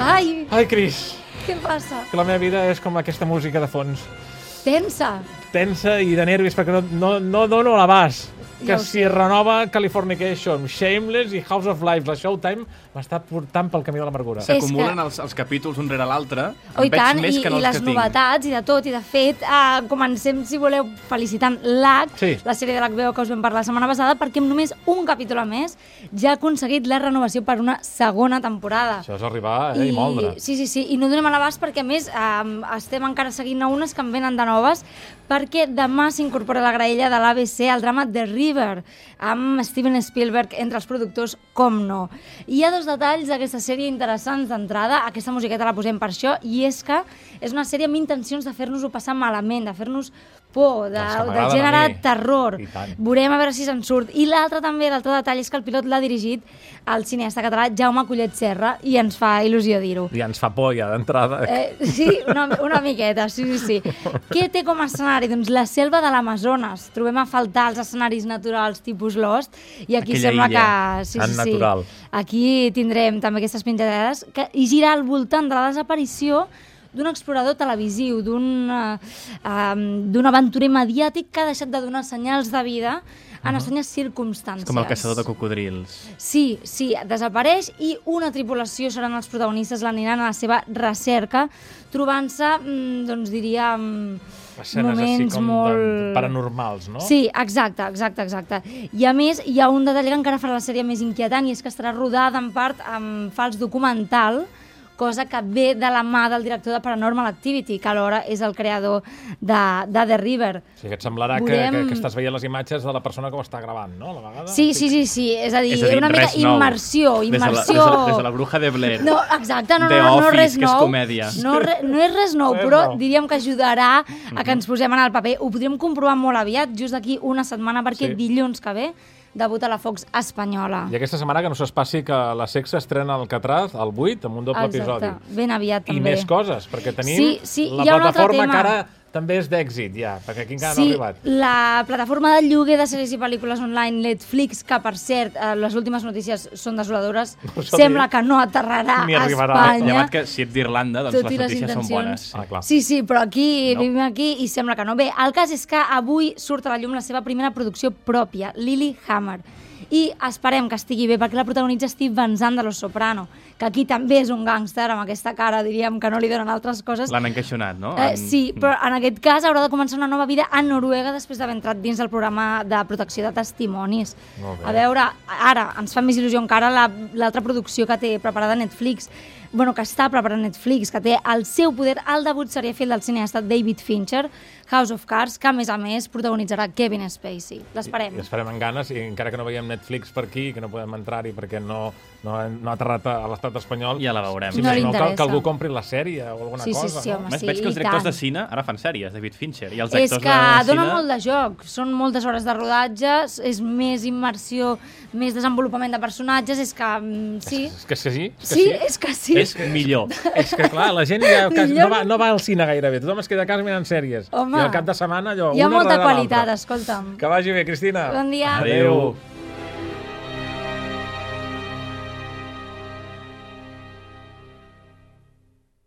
Ai, Ai, Cris, què passa? que la meva vida és com aquesta música de fons. Tensa. Tensa i de nervis, perquè no, no, no dono l'abast. Que Ja ho si renova Californication, Shameless i House of Life, la Showtime m'està portant pel camí de l'amargura. Sí. S'acumulen És que- els, els capítols un rere l'altre. En Oh, i veig tant, més i, que i no els les que tinc. novetats i de tot. I de fet, eh, comencem, si voleu, felicitant l'H, Sí. la sèrie de l'HBO que us vam parlar la setmana passada, perquè amb només un capítol a més ja ha aconseguit la renovació per una segona temporada. Això és arribar eh, i, i moldre. Sí, sí, sí, i no donem a l'abast perquè, a més, eh, estem encara seguint a unes que en venen de noves, perquè demà s'incorpora a la graella de l'ABC al drama The River, amb Steven Spielberg entre els productors, com no. Hi ha dos detalls d'aquesta sèrie interessants d'entrada, aquesta musiqueta la posem per això, i és que és una sèrie amb intencions de fer-nos-ho passar malament, de fer-nos por, de, Doncs que de m'agraden a generar mi. terror. I tant. Veurem a veure si se'n surt. I l'altre també, l'altre detall, és que el pilot l'ha dirigit al cineasta català Jaume Collet Serra i ens fa il·lusió dir-ho. Ja ens fa por, ja, d'entrada. Eh, sí, una, una miqueta, sí, sí, sí. Què té com a escenari? Doncs la selva de l'Amazones. Trobem a faltar els escenaris naturals tipus Lost i aquí Aquella sembla illa que... Sí, tan sí, natural. Sí. Aquí tindrem també aquestes pinzellades que, i gira al voltant de la desaparició d'un explorador televisiu, d'un eh, em, d'un aventurer mediàtic que ha deixat de donar senyals de vida en estranyes circumstàncies. És com el caçador de cocodrils. Sí, sí, desapareix i una tripulació seran els protagonistes, l'aniran a la seva recerca, trobant-se, mm, doncs diria... mm, Escenes així com molt... de, paranormals, no? Sí, exacte, exacte, exacte. I a més, hi ha un detall que encara farà la sèrie més inquietant i és que estarà rodada en part amb fals documental, cosa que ve de la mà del director de Paranormal Activity, que alhora és el creador de, de The River. O sigui, que et semblarà que, Volem- que, que estàs veient les imatges de la persona que ho està gravant, no? A la vegada. Sí, sí, sí, sí, és a dir, Ah, És a dir, una mica res nou. immersió, Des de immersió... la, des de la, des de la bruja de Blair. No, exacte, no, The no, no, no Office, res que és nou. comèdia. No, re, no és res nou, Res però nou. diríem que ajudarà a Mhm. que ens posem en el paper. Ho podríem comprovar molt aviat, just d'aquí una setmana, perquè Sí. dilluns que ve debuta la Fox espanyola. I aquesta setmana que no s'espassi que la sexa estrena el Catraz, el 8, amb un doble Exacte, episodi. ben aviat I també. més coses, perquè tenim Sí, sí, la hi ha un altre plataforma tema. que ara també és d'èxit, ja, perquè aquí encara sí, no ha arribat. la plataforma de lloguer de sèries i pel·lícules online Netflix, que per cert, eh, les últimes notícies són desoladores, No sabia. sembla que no aterrarà Ni a arribarà. Espanya. Llevat que si ets d'Irlanda, doncs Tot i les les notícies són bones. intencions. Ah, clar. Sí, sí, però aquí, No. no. vivim aquí i sembla que no. Bé, el cas és que avui surt a la llum la seva primera producció pròpia, Lily Hammer. I esperem que estigui bé, perquè la protagonitza Steve Van Zandt de Los Soprano, que aquí també és un gàngster amb aquesta cara, diríem, que no li donen altres coses. L'han encaixonat, no? Eh, En- sí, mm. però en aquest cas haurà de començar una nova vida a Noruega després d'haver entrat dins del programa de protecció de testimonis. Molt bé. A veure, ara ens fa més il·lusió encara la- l'altra la, producció que té preparada Netflix, bueno, que està preparant Netflix, que té al seu poder el debut seria fet del cineasta David Fincher, House of Cards, que a més a més protagonitzarà Kevin Spacey. L'esperem. I esperem amb ganes, i encara que no veiem Netflix per aquí, que no podem entrar-hi perquè no, no, ha- no ha aterrat a l'estat espanyol, Ja la veurem. Si No més li no, que, interessa. que algú compri la sèrie o alguna Sí, sí, cosa. sí, no? home. Més sí, veig que els i directors tant. de cine ara fan sèries, David Fincher, i els És actors que de dona cine... molt de joc, són moltes hores de rodatge, és més immersió, més desenvolupament de personatges, és que mm, sí, És que és que sí, és que sí, sí. és que sí. És millor. És que, clar, la gent ja cas, Millor no, va, no va al cine gairebé. Tothom es queda a casa mirant sèries. Home, I al cap de setmana allò, Hi ha una molta darrere qualitat, Doncs l'altra. escolta'm. Que vagi bé, Cristina. Bon dia. Adéu. Adéu.